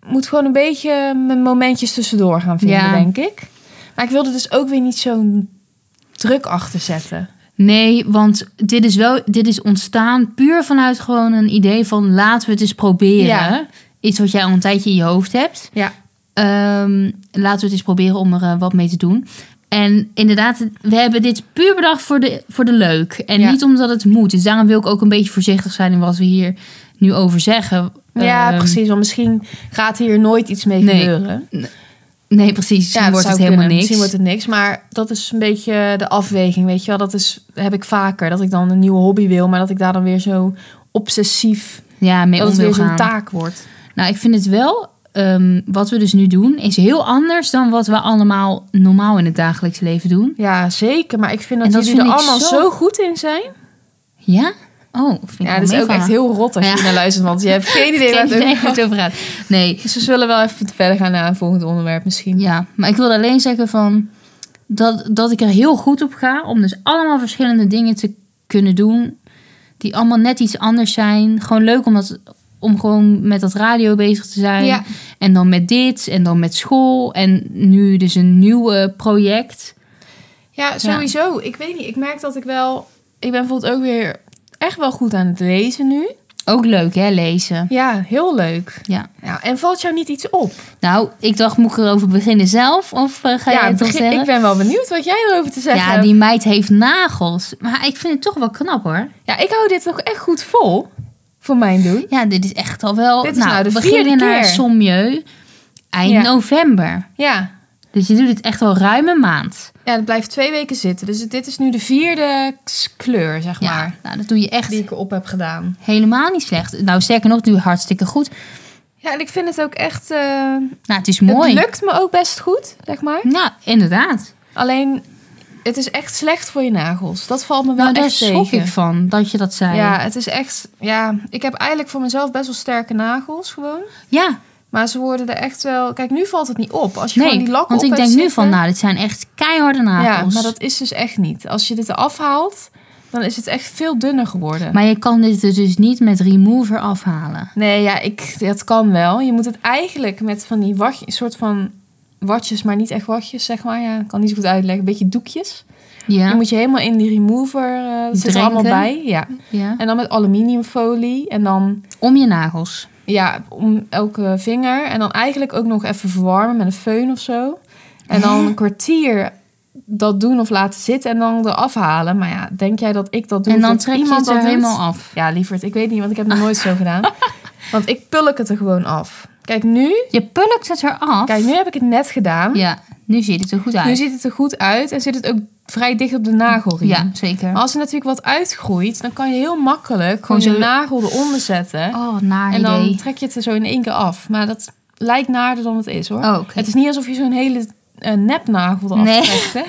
Speaker 1: moet gewoon een beetje mijn momentjes tussendoor gaan vinden,
Speaker 2: Ja.
Speaker 1: denk ik. Maar ik wilde dus ook weer niet zo'n druk achter zetten.
Speaker 2: Nee, want dit is wel, dit is ontstaan puur vanuit gewoon een idee van laten we het eens proberen.
Speaker 1: Ja.
Speaker 2: Iets wat jij al een tijdje in je hoofd hebt.
Speaker 1: Ja.
Speaker 2: Ehm, laten we het eens proberen om er eh, wat mee te doen. En inderdaad, we hebben dit puur bedacht voor de, voor de leuk. En
Speaker 1: Ja.
Speaker 2: niet omdat het moet. Dus daarom wil ik ook een beetje voorzichtig zijn in wat we hier nu over zeggen.
Speaker 1: Ja,
Speaker 2: Ehm,
Speaker 1: precies. Want misschien gaat hier nooit iets mee
Speaker 2: Nee.
Speaker 1: gebeuren.
Speaker 2: Nee, precies.
Speaker 1: Ja,
Speaker 2: Ja,
Speaker 1: dat
Speaker 2: wordt
Speaker 1: zou kunnen.
Speaker 2: het helemaal niks.
Speaker 1: Misschien wordt het niks. Maar dat is een beetje de afweging, weet je wel. Dat is, heb ik vaker. Dat ik dan een nieuwe hobby wil, maar dat ik daar dan weer zo obsessief...
Speaker 2: Ja, mee
Speaker 1: dat
Speaker 2: om
Speaker 1: het
Speaker 2: wil
Speaker 1: weer zo'n
Speaker 2: gaan.
Speaker 1: taak wordt.
Speaker 2: Nou, ik vind het wel. ehm, wat we dus nu doen is heel anders dan wat we allemaal normaal in het dagelijks leven doen.
Speaker 1: Ja, zeker. Maar ik vind dat,
Speaker 2: En dat
Speaker 1: jullie
Speaker 2: vind
Speaker 1: er
Speaker 2: ik
Speaker 1: allemaal zo...
Speaker 2: zo-
Speaker 1: goed in zijn.
Speaker 2: Ja? Oh, vind ik
Speaker 1: Ja,
Speaker 2: wel
Speaker 1: dat is ook
Speaker 2: meevallen.
Speaker 1: echt heel rot als je
Speaker 2: Ja.
Speaker 1: hier naar luistert, want je hebt geen idee waar het
Speaker 2: Geen idee
Speaker 1: over
Speaker 2: waar het over gaat. Nee,
Speaker 1: Dus we zullen wel even verder gaan naar een volgend onderwerp misschien.
Speaker 2: ja. Maar ik wilde alleen zeggen van... Dat, dat ik er heel goed op ga om dus allemaal verschillende dingen te kunnen doen. Die allemaal net iets anders zijn. Gewoon leuk om, dat, om gewoon met dat radio bezig te zijn.
Speaker 1: Ja.
Speaker 2: En dan met dit en dan met school. En nu dus een nieuw eh, project.
Speaker 1: Ja, sowieso. Ik weet niet. Ik merk dat ik wel. Ik ben bijvoorbeeld ook weer echt wel goed aan het lezen nu.
Speaker 2: Ook leuk hè, lezen.
Speaker 1: Ja, heel leuk.
Speaker 2: Ja.
Speaker 1: Ja, en valt jou niet iets op?
Speaker 2: Nou, ik dacht, moet ik erover beginnen zelf? Of eh, ga
Speaker 1: ja,
Speaker 2: jij het
Speaker 1: begin-
Speaker 2: ons zeggen?
Speaker 1: ik ben wel benieuwd wat jij erover te zeggen
Speaker 2: Ja,
Speaker 1: hebt.
Speaker 2: die meid heeft nagels. Maar ik vind het toch wel knap hoor.
Speaker 1: Ja, ik hou dit toch echt goed vol. Voor mijn doen.
Speaker 2: Ja, dit is echt al wel...
Speaker 1: Dit is nou de
Speaker 2: we
Speaker 1: vierde
Speaker 2: gingen naar
Speaker 1: keer.
Speaker 2: Sommieu eind
Speaker 1: Ja.
Speaker 2: november.
Speaker 1: Ja.
Speaker 2: Dus je doet het echt al ruim een maand.
Speaker 1: Ja, dat blijft twee weken zitten. Dus dit is nu de vierde s- kleur, zeg
Speaker 2: Ja,
Speaker 1: maar.
Speaker 2: nou dat doe je echt
Speaker 1: Die ik op heb gedaan.
Speaker 2: helemaal niet slecht. Nou, sterker nog, doe je hartstikke goed.
Speaker 1: Ja, en ik vind het ook echt... eh,
Speaker 2: Nou, het is
Speaker 1: Het
Speaker 2: mooi.
Speaker 1: lukt me ook best goed, zeg maar.
Speaker 2: Nou, inderdaad.
Speaker 1: Alleen, het is echt slecht voor je nagels. Dat valt me wel
Speaker 2: Nou, daar
Speaker 1: echt
Speaker 2: schrok
Speaker 1: tegen.
Speaker 2: ik van dat je dat zei.
Speaker 1: Ja, het is echt. Ja, ik heb eigenlijk voor mezelf best wel sterke nagels gewoon.
Speaker 2: Ja,
Speaker 1: Maar ze worden er echt wel. Kijk, nu valt het niet op. Als je
Speaker 2: nee.
Speaker 1: gewoon die lak
Speaker 2: want
Speaker 1: op
Speaker 2: ik
Speaker 1: hebt
Speaker 2: denk nu van,
Speaker 1: zitten-
Speaker 2: nou, dit zijn echt keiharde
Speaker 1: Ja,
Speaker 2: nagels.
Speaker 1: maar dat is dus echt niet. Als je dit eraf haalt, dan is het echt veel dunner geworden.
Speaker 2: Maar je kan dit er dus niet met remover afhalen.
Speaker 1: Nee, ja, ik, dat kan wel. Je moet het eigenlijk met van die wacht, een soort van watjes, maar niet echt watjes, zeg maar. Ja, ik kan niet zo goed uitleggen. Een beetje doekjes.
Speaker 2: Ja,
Speaker 1: Die moet je helemaal in die remover. eh dat zit er
Speaker 2: Drenken.
Speaker 1: allemaal bij. Ja.
Speaker 2: ja.
Speaker 1: En dan met aluminiumfolie. En dan
Speaker 2: om je nagels.
Speaker 1: Ja, om elke vinger. En dan eigenlijk ook nog even verwarmen met een föhn of zo. En dan een kwartier dat doen of laten zitten en dan eraf halen. Maar ja, denk jij dat ik dat doe?
Speaker 2: en dan
Speaker 1: dat
Speaker 2: trek je
Speaker 1: iemand
Speaker 2: het er
Speaker 1: dat doet?
Speaker 2: helemaal af.
Speaker 1: Ja, lieverd, ik weet niet, want ik heb het nog nooit zo gedaan. Want ik pulk het er gewoon af. Kijk nu,
Speaker 2: Je pulkt het er af.
Speaker 1: kijk, nu heb ik het net gedaan.
Speaker 2: Ja, nu ziet het er goed uit.
Speaker 1: Nu ziet het er goed uit en zit het ook vrij dicht op de nagelriem.
Speaker 2: ja, zeker.
Speaker 1: Maar als er Oh, natuurlijk wat uitgroeit, dan kan je heel makkelijk gewoon
Speaker 2: Gewoon
Speaker 1: je
Speaker 2: zo-
Speaker 1: nagel eronder zetten.
Speaker 2: Oh, wat naar
Speaker 1: En dan
Speaker 2: idee.
Speaker 1: trek je het er zo in één keer af. Maar dat lijkt naarder dan het is hoor.
Speaker 2: Oh, oké.
Speaker 1: Het is niet alsof je zo'n hele eh, nepnagel eraf
Speaker 2: Nee.
Speaker 1: trekt. Hè?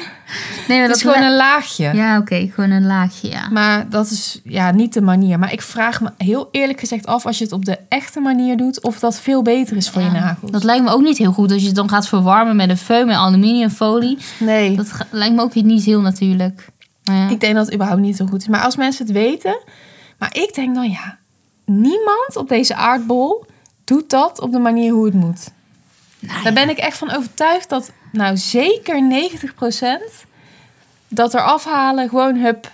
Speaker 2: nee, maar
Speaker 1: Het is gewoon een laagje.
Speaker 2: Ja, oké, gewoon een laagje, ja.
Speaker 1: Maar dat is ja, niet de manier. Maar ik vraag me heel eerlijk gezegd af als je het op de echte manier doet, of dat veel beter is voor je
Speaker 2: Ja,
Speaker 1: nagels.
Speaker 2: Dat lijkt me ook niet heel goed als je het dan gaat verwarmen met een föhn en aluminiumfolie.
Speaker 1: nee.
Speaker 2: Dat ga- lijkt me ook niet heel natuurlijk. Maar ja.
Speaker 1: Ik denk dat het überhaupt niet zo goed is. Maar als mensen het weten. Maar ik denk dan ja, niemand op deze aardbol doet dat op de manier hoe het moet.
Speaker 2: Nou,
Speaker 1: Daar ben ik echt van overtuigd dat nou zeker 90% dat er afhalen gewoon hup.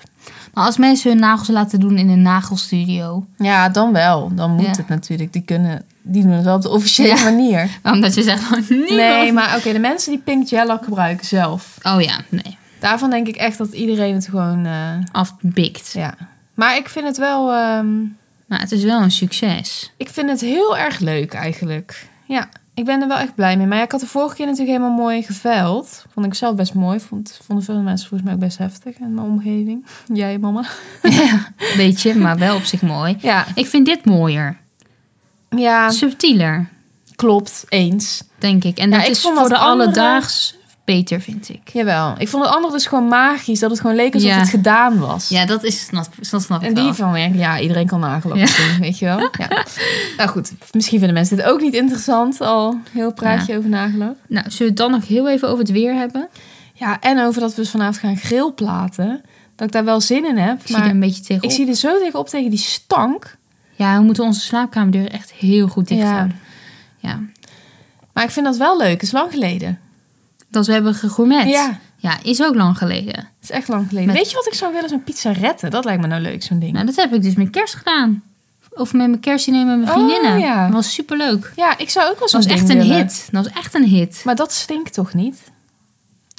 Speaker 2: Maar als mensen hun nagels laten doen in een nagelstudio,
Speaker 1: Ja, dan wel. Dan moet
Speaker 2: Ja.
Speaker 1: het natuurlijk. Die kunnen die doen het wel op de officiële
Speaker 2: Ja.
Speaker 1: manier.
Speaker 2: omdat je zegt van niemand.
Speaker 1: Nee, maar oké, de mensen die pink gel lak gebruiken zelf.
Speaker 2: Oh ja, nee.
Speaker 1: Daarvan denk ik echt dat iedereen het gewoon eh,
Speaker 2: Afbikt.
Speaker 1: ja. Maar ik vind het wel ehm,
Speaker 2: Maar het is wel een succes.
Speaker 1: ik vind het heel erg leuk eigenlijk. Ja, ik ben er wel echt blij mee. Maar ja, ik had de vorige keer natuurlijk helemaal mooi geveild. Vond ik zelf best mooi. Vond, vonden veel mensen volgens mij ook best heftig in mijn omgeving. Jij, mama.
Speaker 2: ja, weet je, maar wel op zich mooi.
Speaker 1: Ja,
Speaker 2: Ik vind dit mooier.
Speaker 1: ja
Speaker 2: Subtieler,
Speaker 1: klopt. Eens.
Speaker 2: denk ik. En
Speaker 1: Ja,
Speaker 2: dat
Speaker 1: ik
Speaker 2: is
Speaker 1: vond
Speaker 2: voor
Speaker 1: dat
Speaker 2: de
Speaker 1: andere-
Speaker 2: alledaags beter, vind ik.
Speaker 1: Jawel. Ik vond het andere dus gewoon magisch. Dat het gewoon leek alsof
Speaker 2: Ja.
Speaker 1: het gedaan was.
Speaker 2: Ja, dat is snap, dat snap ik
Speaker 1: En die
Speaker 2: wel.
Speaker 1: van, ja, ja, iedereen kan nagelopen
Speaker 2: Ja.
Speaker 1: doen, weet je wel. Ja. Nou goed, misschien vinden mensen dit ook niet interessant. Al heel praatje over nageloof.
Speaker 2: Nou, zullen we het dan nog heel even over het weer hebben?
Speaker 1: Ja, en over dat we dus vanavond gaan grillplaten. Dat ik daar wel zin in heb.
Speaker 2: Ik zie
Speaker 1: maar
Speaker 2: er een beetje tegenop.
Speaker 1: ik zie er zo tegenop tegen die stank.
Speaker 2: Ja, we moeten onze slaapkamerdeur echt heel goed dicht
Speaker 1: Ja.
Speaker 2: houden. Ja.
Speaker 1: Maar ik vind dat wel leuk. Het is lang geleden.
Speaker 2: Dat we hebben gegourmet.
Speaker 1: Ja,
Speaker 2: Ja, is ook lang geleden.
Speaker 1: het is echt lang geleden.
Speaker 2: Met-
Speaker 1: Weet je wat ik zou willen? Zo'n pizza retten. Dat lijkt me nou leuk, zo'n ding.
Speaker 2: Nou, dat heb ik dus met kerst gedaan. Of met mijn kerstdiner met mijn
Speaker 1: Oh,
Speaker 2: vriendinnen.
Speaker 1: ja.
Speaker 2: Dat was superleuk.
Speaker 1: Ja, ik zou ook wel zo'n
Speaker 2: Dat was
Speaker 1: ding
Speaker 2: echt een
Speaker 1: willen.
Speaker 2: hit. Dat was echt een hit.
Speaker 1: Maar dat stinkt toch niet?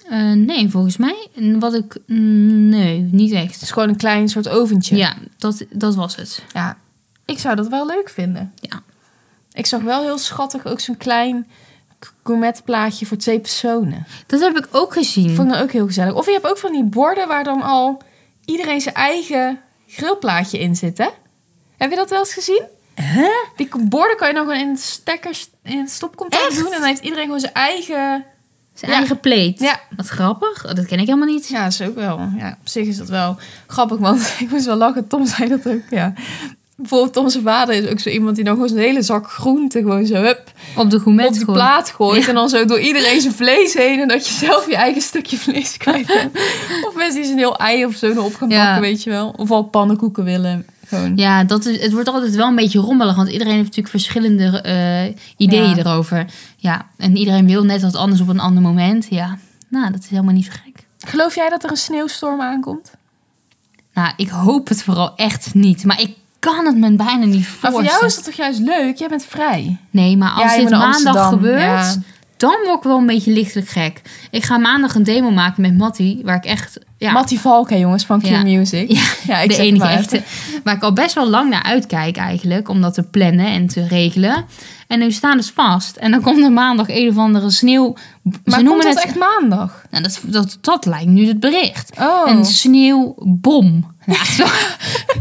Speaker 2: Eh, nee, volgens mij. En Wat ik... mm, Nee, niet
Speaker 1: Het
Speaker 2: echt.
Speaker 1: is gewoon een klein soort oventje.
Speaker 2: Ja, dat, dat was het.
Speaker 1: Ja. Ik zou dat wel leuk vinden.
Speaker 2: Ja.
Speaker 1: Ik zag wel heel schattig ook zo'n klein k- gourmetplaatje voor twee personen.
Speaker 2: Dat heb ik ook gezien.
Speaker 1: Dat vond ik dan ook heel gezellig. Of je hebt ook van die borden waar dan al iedereen zijn eigen grillplaatje in zit, hè? Heb je dat wel eens gezien? Die k- borden kan je dan gewoon in een stekker, st- in een stopcontact
Speaker 2: Echt?
Speaker 1: doen. En dan heeft iedereen gewoon zijn eigen
Speaker 2: Zijn
Speaker 1: Ja.
Speaker 2: eigen pleet.
Speaker 1: Ja.
Speaker 2: Wat grappig. Oh, dat ken ik helemaal niet.
Speaker 1: Ja, is ook wel. Ja, op zich is dat wel grappig, want ik moest wel lachen. Tom zei dat ook, ja. Bijvoorbeeld Tom zijn vader is ook zo iemand die dan gewoon zijn hele zak groente gewoon zo hup,
Speaker 2: Op de gourmet
Speaker 1: op die
Speaker 2: gewoon.
Speaker 1: plaat gooit. En dan zo door iedereen zijn vlees heen en dat je zelf je eigen stukje vlees kwijt bent. Of mensen die zijn heel ei of zo nog op gaan
Speaker 2: Ja.
Speaker 1: bakken, weet je wel. Of al pannenkoeken willen. Gewoon.
Speaker 2: Ja, dat is, het wordt altijd wel een beetje rommelig, want iedereen heeft natuurlijk verschillende eh,
Speaker 1: Ja.
Speaker 2: ideeën erover. Ja, en iedereen wil net wat anders op een ander moment. Ja, nou, dat is helemaal niet zo gek.
Speaker 1: Geloof jij dat er een sneeuwstorm aankomt?
Speaker 2: Nou, ik hoop het vooral echt niet, maar ik kan het me bijna niet
Speaker 1: Maar voor
Speaker 2: voorstellen.
Speaker 1: jou is dat toch juist leuk? Jij bent vrij.
Speaker 2: Nee, maar als
Speaker 1: Ja, je moet
Speaker 2: dit
Speaker 1: naar
Speaker 2: maandag
Speaker 1: Amsterdam,
Speaker 2: gebeurt,
Speaker 1: ja.
Speaker 2: dan word ik wel een beetje lichtelijk gek. Ik ga maandag een demo maken met Matty, waar ik echt... Ja,
Speaker 1: Mattie Valken, jongens, van Q
Speaker 2: Ja.
Speaker 1: Music.
Speaker 2: Ja,
Speaker 1: Ja,
Speaker 2: de
Speaker 1: zeg
Speaker 2: enige
Speaker 1: maar.
Speaker 2: echte. Waar ik al best wel lang naar uitkijk eigenlijk. Om dat te plannen en te regelen. En nu staan dus vast. En dan komt er maandag een of andere sneeuw.
Speaker 1: Maar
Speaker 2: ze noemen
Speaker 1: komt dat
Speaker 2: het...
Speaker 1: echt maandag?
Speaker 2: Nou, dat, dat, dat lijkt nu het bericht.
Speaker 1: Oh.
Speaker 2: Een sneeuwbom. Ja, zo,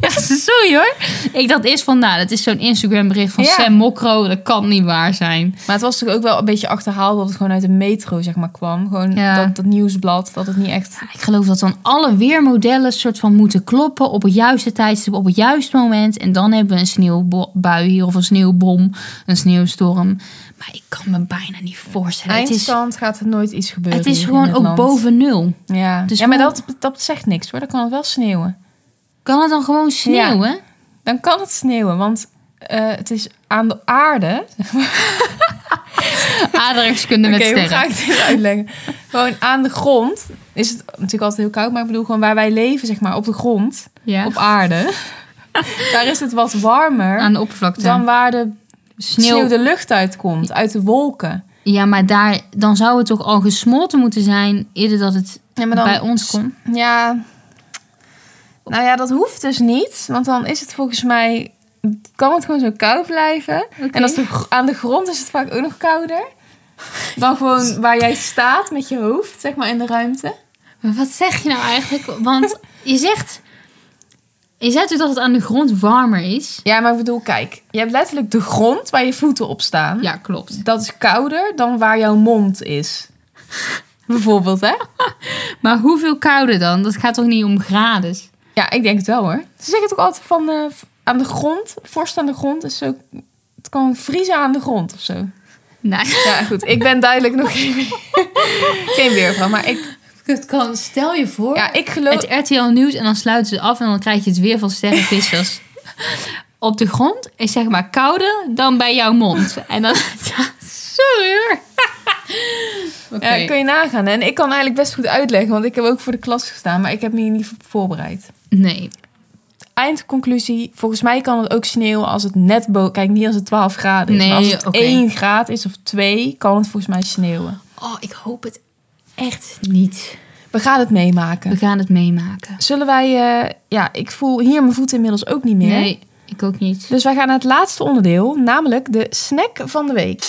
Speaker 2: ja, sorry hoor. Ik dacht eerst van, nou, dat is zo'n Instagram bericht van
Speaker 1: Ja.
Speaker 2: Sam Mokro. Dat kan niet waar zijn.
Speaker 1: Maar het was toch ook wel een beetje achterhaald dat het gewoon uit de metro zeg maar, kwam. Gewoon
Speaker 2: Ja.
Speaker 1: dat, dat nieuwsblad, dat het niet echt...
Speaker 2: Ik geloof dat dan alle weermodellen soort van moeten kloppen op het juiste tijdstip, op het juiste moment. En dan hebben we een sneeuwbui hier of een sneeuwbom, een sneeuwstorm. Maar ik kan me bijna niet voorstellen. Het is,
Speaker 1: Eindstand gaat er nooit iets gebeuren
Speaker 2: het is
Speaker 1: hier
Speaker 2: gewoon
Speaker 1: in
Speaker 2: ook
Speaker 1: dit land.
Speaker 2: boven nul.
Speaker 1: Ja,
Speaker 2: Dus
Speaker 1: ja maar
Speaker 2: hoe-
Speaker 1: dat, dat zegt niks hoor. Dan kan het wel sneeuwen.
Speaker 2: Kan het dan gewoon sneeuwen?
Speaker 1: Dan kan het sneeuwen, want eh, het is aan de aarde...
Speaker 2: Aardrijkskunde met
Speaker 1: Oké, hoe
Speaker 2: sterren.
Speaker 1: ga ik dit uitleggen? gewoon aan de grond is het natuurlijk altijd heel koud. Maar ik bedoel gewoon waar wij leven, zeg maar, op de grond,
Speaker 2: Ja.
Speaker 1: op aarde. daar is het wat warmer
Speaker 2: Aan de oppervlakte.
Speaker 1: dan waar de
Speaker 2: sneeuw.
Speaker 1: sneeuw de lucht uitkomt. Uit de wolken.
Speaker 2: Ja, maar daar, dan zou het toch al gesmolten moeten zijn eerder dat het
Speaker 1: Ja, maar dan-
Speaker 2: bij ons komt.
Speaker 1: Ja. Nou ja, dat hoeft dus niet. Want dan is het volgens mij... Kan het gewoon zo koud blijven. En als de, gr- aan de grond is het vaak ook nog kouder. Dan gewoon waar jij staat met je hoofd, zeg maar, in de ruimte.
Speaker 2: Maar wat zeg je nou eigenlijk? Want je zegt. Je zegt dus dat het aan de grond warmer is.
Speaker 1: Ja, maar ik bedoel, kijk. Je hebt letterlijk de grond waar je voeten op staan.
Speaker 2: Ja, klopt.
Speaker 1: Dat is kouder dan waar jouw mond is. Bijvoorbeeld, hè?
Speaker 2: Maar hoeveel kouder dan? Dat gaat toch niet om graden?
Speaker 1: Ja, ik denk het wel, hoor. Ze zeggen het ook altijd van eh, aan de grond. Vorst aan de grond is zo... Het kan vriezen aan de grond of zo.
Speaker 2: Nee.
Speaker 1: Ja, goed. Ik ben duidelijk nog geen, geen weervrouw. Maar ik,
Speaker 2: Het kan, stel je voor.
Speaker 1: ja, ik geloof...
Speaker 2: Het RTL Nieuws en dan sluiten ze af en dan krijg je het weer van sterrenvissers. Op de grond is zeg maar kouder dan bij jouw mond. En dan. Ja, sorry hoor. Oké.
Speaker 1: ja, kun je nagaan. En ik kan eigenlijk best goed uitleggen, want ik heb ook voor de klas gestaan, maar ik heb me hier niet op voorbereid.
Speaker 2: Nee.
Speaker 1: Eindconclusie, volgens mij kan het ook sneeuwen als het net boven... Kijk, niet als het 12 graden is,
Speaker 2: Nee,
Speaker 1: maar als het
Speaker 2: oké.
Speaker 1: 1 graad is of 2, kan het volgens mij sneeuwen.
Speaker 2: Oh, ik hoop het echt niet.
Speaker 1: We gaan het meemaken.
Speaker 2: We gaan het meemaken.
Speaker 1: Zullen wij... eh, ja, ik voel hier mijn voeten inmiddels ook niet meer.
Speaker 2: Nee, ik ook niet.
Speaker 1: Dus wij gaan naar het laatste onderdeel, namelijk de snack van de week.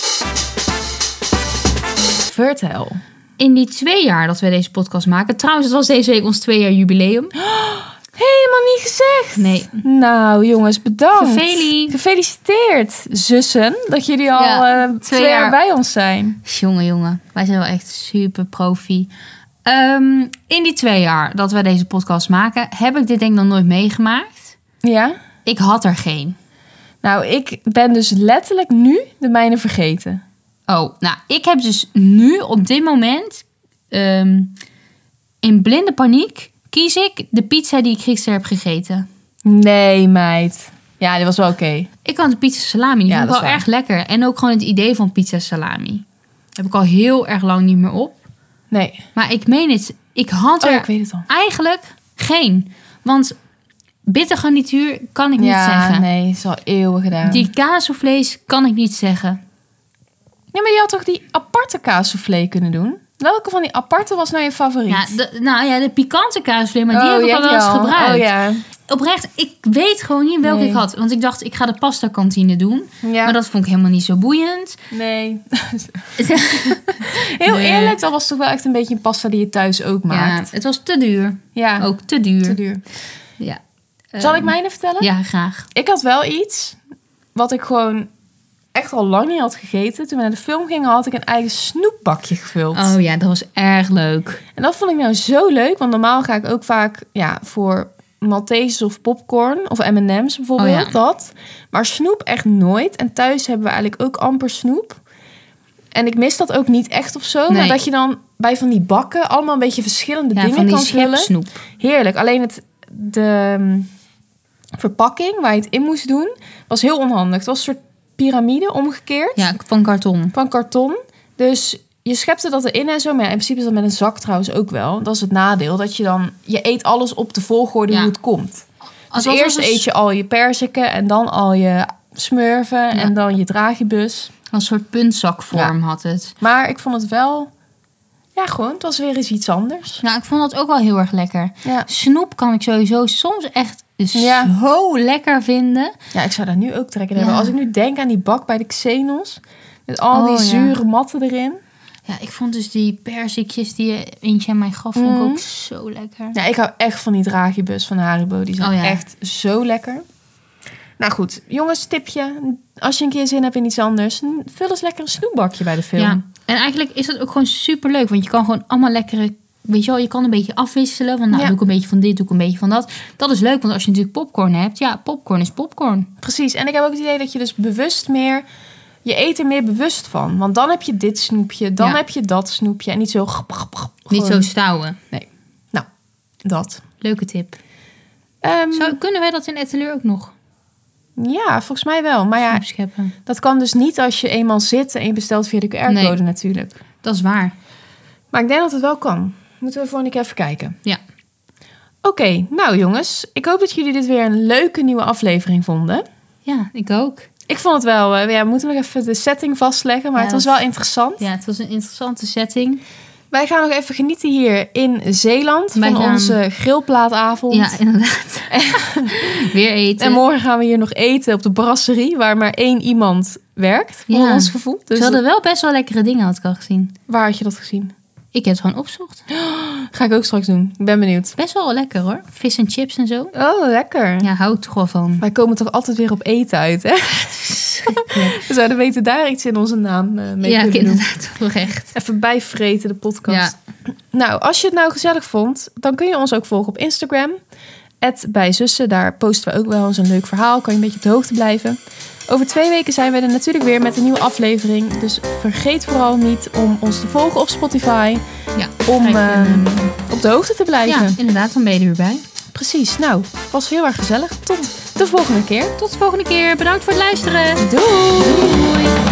Speaker 1: Vertel.
Speaker 2: In die twee jaar dat wij deze podcast maken. Trouwens, het was deze week ons twee jaar jubileum.
Speaker 1: Helemaal niet gezegd.
Speaker 2: Nee.
Speaker 1: Nou, jongens, bedankt.
Speaker 2: Gefelie.
Speaker 1: Gefeliciteerd, zussen, dat jullie al
Speaker 2: Ja,
Speaker 1: eh,
Speaker 2: twee
Speaker 1: twee jaar.
Speaker 2: jaar.
Speaker 1: bij ons zijn.
Speaker 2: Jongen, jongen. Wij zijn wel echt super profi. Ehm, in die twee jaar dat wij deze podcast maken, heb ik dit denk ik nog nooit meegemaakt.
Speaker 1: Ja.
Speaker 2: Ik had er geen.
Speaker 1: Nou, ik ben dus letterlijk nu de mijne vergeten.
Speaker 2: Oh, nou, ik heb dus nu op dit moment ehm, in blinde paniek kies ik de pizza die ik gisteren heb gegeten.
Speaker 1: Nee, meid. Ja, dit was wel oké.
Speaker 2: Ik had de pizza salami. Die
Speaker 1: Ja,
Speaker 2: vond ik
Speaker 1: dat
Speaker 2: wel
Speaker 1: is
Speaker 2: erg lekker. En ook gewoon het idee van pizza salami. Heb ik al heel erg lang niet meer op.
Speaker 1: Nee.
Speaker 2: Maar ik meen het. Oh Ik had
Speaker 1: Oh,
Speaker 2: er
Speaker 1: ja, ik weet het al.
Speaker 2: eigenlijk geen. Want bittergarnituur kan ik niet
Speaker 1: ja,
Speaker 2: zeggen.
Speaker 1: nee, is al eeuwen gedaan.
Speaker 2: Die kaas of vlees kan ik niet zeggen.
Speaker 1: Ja, maar je had toch die aparte kaassoufflé kunnen doen? Welke van die aparte was nou je favoriet?
Speaker 2: Ja, de, nou ja, de pikante kaasvlees, maar die
Speaker 1: Oh,
Speaker 2: heb ik
Speaker 1: je
Speaker 2: al
Speaker 1: hebt
Speaker 2: wel eens
Speaker 1: die
Speaker 2: gebruikt.
Speaker 1: Oh ja.
Speaker 2: Oprecht, ik weet gewoon niet welke
Speaker 1: Nee.
Speaker 2: ik had. Want ik dacht, ik ga de pasta kantine doen.
Speaker 1: ja.
Speaker 2: Maar dat vond ik helemaal niet zo boeiend.
Speaker 1: Nee. Heel
Speaker 2: Nee.
Speaker 1: eerlijk, dat was toch wel echt een beetje een pasta die je thuis ook
Speaker 2: Ja,
Speaker 1: maakt.
Speaker 2: het was te duur.
Speaker 1: Ja,
Speaker 2: Ook te duur.
Speaker 1: te duur.
Speaker 2: Ja.
Speaker 1: Zal
Speaker 2: Ehm,
Speaker 1: ik mijne vertellen?
Speaker 2: Ja, graag.
Speaker 1: Ik had wel iets wat ik gewoon echt al lang niet had gegeten. Toen we naar de film gingen, had ik een eigen snoepbakje gevuld.
Speaker 2: Oh ja, dat was erg leuk.
Speaker 1: En dat vond ik nou zo leuk, want normaal ga ik ook vaak ja, voor Maltesers of popcorn of M&M's bijvoorbeeld,
Speaker 2: Oh ja.
Speaker 1: dat. Maar snoep echt nooit. En thuis hebben we eigenlijk ook amper snoep. En ik mis dat ook niet echt of zo, maar
Speaker 2: Nee.
Speaker 1: dat je dan bij van die bakken allemaal een beetje verschillende
Speaker 2: Ja, van
Speaker 1: dingen
Speaker 2: die
Speaker 1: kan vullen.
Speaker 2: schepsnoep.
Speaker 1: Heerlijk. Alleen het, de mm, verpakking waar je het in moest doen, was heel onhandig. Het was een soort piramide omgekeerd
Speaker 2: Ja, van karton.
Speaker 1: van karton. Dus je schepte dat erin en zo. Maar ja, in principe is dat met een zak trouwens ook wel. Dat is het nadeel. Dat je dan... Je eet alles op de volgorde
Speaker 2: Ja.
Speaker 1: hoe het komt.
Speaker 2: Als
Speaker 1: dus eerst eet je al je perziken. En dan al je smurven. En dan je dragibus.
Speaker 2: Als soort puntzakvorm had het.
Speaker 1: Maar ik vond het wel... Ja, gewoon. Het was weer eens iets anders.
Speaker 2: Nou, ik vond dat ook wel heel erg lekker.
Speaker 1: Ja,
Speaker 2: Snoep kan ik sowieso soms echt
Speaker 1: Ja.
Speaker 2: zo lekker vinden.
Speaker 1: ja ik zou daar nu ook trekken in hebben.
Speaker 2: Ja.
Speaker 1: Als ik nu denk aan die bak bij de Xenos. Met al
Speaker 2: Oh,
Speaker 1: die
Speaker 2: ja.
Speaker 1: zure matten erin.
Speaker 2: Ja, ik vond dus die perzikjes die je eentje aan mij gaf, vond
Speaker 1: Mhm.
Speaker 2: ik ook zo lekker.
Speaker 1: Ja, ik hou echt van die dragibus van Haribo. Die zijn
Speaker 2: Oh ja.
Speaker 1: echt zo lekker. Nou goed, jongens, tipje. Als je een keer zin hebt in iets anders, n- vul eens lekker een snoepbakje bij de film.
Speaker 2: Ja, en eigenlijk is dat ook gewoon super leuk. Want je kan gewoon allemaal lekkere. Weet je wel, je kan een beetje afwisselen. Van nou,
Speaker 1: Ja.
Speaker 2: doe ik een beetje van dit, doe ik een beetje van dat. Dat is leuk, want als je natuurlijk popcorn hebt, ja, popcorn is popcorn.
Speaker 1: Precies. En ik heb ook het idee dat je dus bewust meer... Je eet er meer bewust van. Want dan heb je dit snoepje, dan
Speaker 2: Ja.
Speaker 1: heb je dat snoepje. En niet zo... grap, grap, grap,
Speaker 2: Niet zo
Speaker 1: gewoon Nou,
Speaker 2: stouwen.
Speaker 1: Dat.
Speaker 2: Leuke tip.
Speaker 1: Ehm,
Speaker 2: Zou, kunnen wij dat in Etteleur ook nog
Speaker 1: Ja, volgens mij wel. Maar ja,
Speaker 2: opscheppen?
Speaker 1: dat kan dus niet als je eenmaal zit en je bestelt via de QR-code
Speaker 2: Nee.
Speaker 1: natuurlijk.
Speaker 2: Dat is waar.
Speaker 1: Maar ik denk dat het wel kan. Moeten we voor een keer even kijken.
Speaker 2: Ja.
Speaker 1: Oké, nou jongens, ik hoop dat jullie dit weer een leuke nieuwe aflevering vonden.
Speaker 2: Ja, ik ook.
Speaker 1: Ik vond het wel, eh, ja, we moeten nog even de setting vastleggen, maar
Speaker 2: Ja,
Speaker 1: het was
Speaker 2: dat-
Speaker 1: wel interessant.
Speaker 2: Ja, het was een interessante setting.
Speaker 1: Wij gaan nog even genieten hier in Zeeland
Speaker 2: Wij
Speaker 1: van
Speaker 2: gaan-
Speaker 1: onze grillplaatavond.
Speaker 2: Ja, inderdaad. Weer eten.
Speaker 1: en morgen gaan we hier nog eten op de brasserie, waar maar één iemand werkt, voor
Speaker 2: Ja.
Speaker 1: ons gevoel. Dus
Speaker 2: Ze hadden wel best wel lekkere dingen, had ik al gezien.
Speaker 1: waar had je dat gezien?
Speaker 2: Ik heb het gewoon opzocht.
Speaker 1: Ga ik ook straks doen. Ik ben benieuwd.
Speaker 2: Best wel lekker hoor. Vis en chips en zo.
Speaker 1: Oh, lekker.
Speaker 2: Ja, hou ik toch wel van.
Speaker 1: Wij komen toch altijd weer op eten uit, hè? We zouden weten daar iets in onze naam eh, mee
Speaker 2: ja, ik
Speaker 1: kunnen doen.
Speaker 2: inderdaad. Toch echt.
Speaker 1: Even bijvreten de podcast.
Speaker 2: Ja.
Speaker 1: Nou, als je het nou gezellig vond, dan kun je ons ook volgen op Instagram. Bij Zussen, daar posten we ook wel eens een leuk verhaal. Kan je een beetje op de hoogte blijven. Over twee weken zijn we er natuurlijk weer met een nieuwe aflevering. Dus vergeet vooral niet om ons te volgen op Spotify.
Speaker 2: Ja,
Speaker 1: Om eh,
Speaker 2: Kijk,
Speaker 1: ehm,
Speaker 2: eh,
Speaker 1: op de hoogte te blijven.
Speaker 2: ja, inderdaad. Dan ben je er weer bij.
Speaker 1: Precies. Nou, het was heel erg gezellig. Tot de volgende keer.
Speaker 2: Tot de volgende keer. Bedankt voor het luisteren.
Speaker 1: Doei!
Speaker 2: Doei.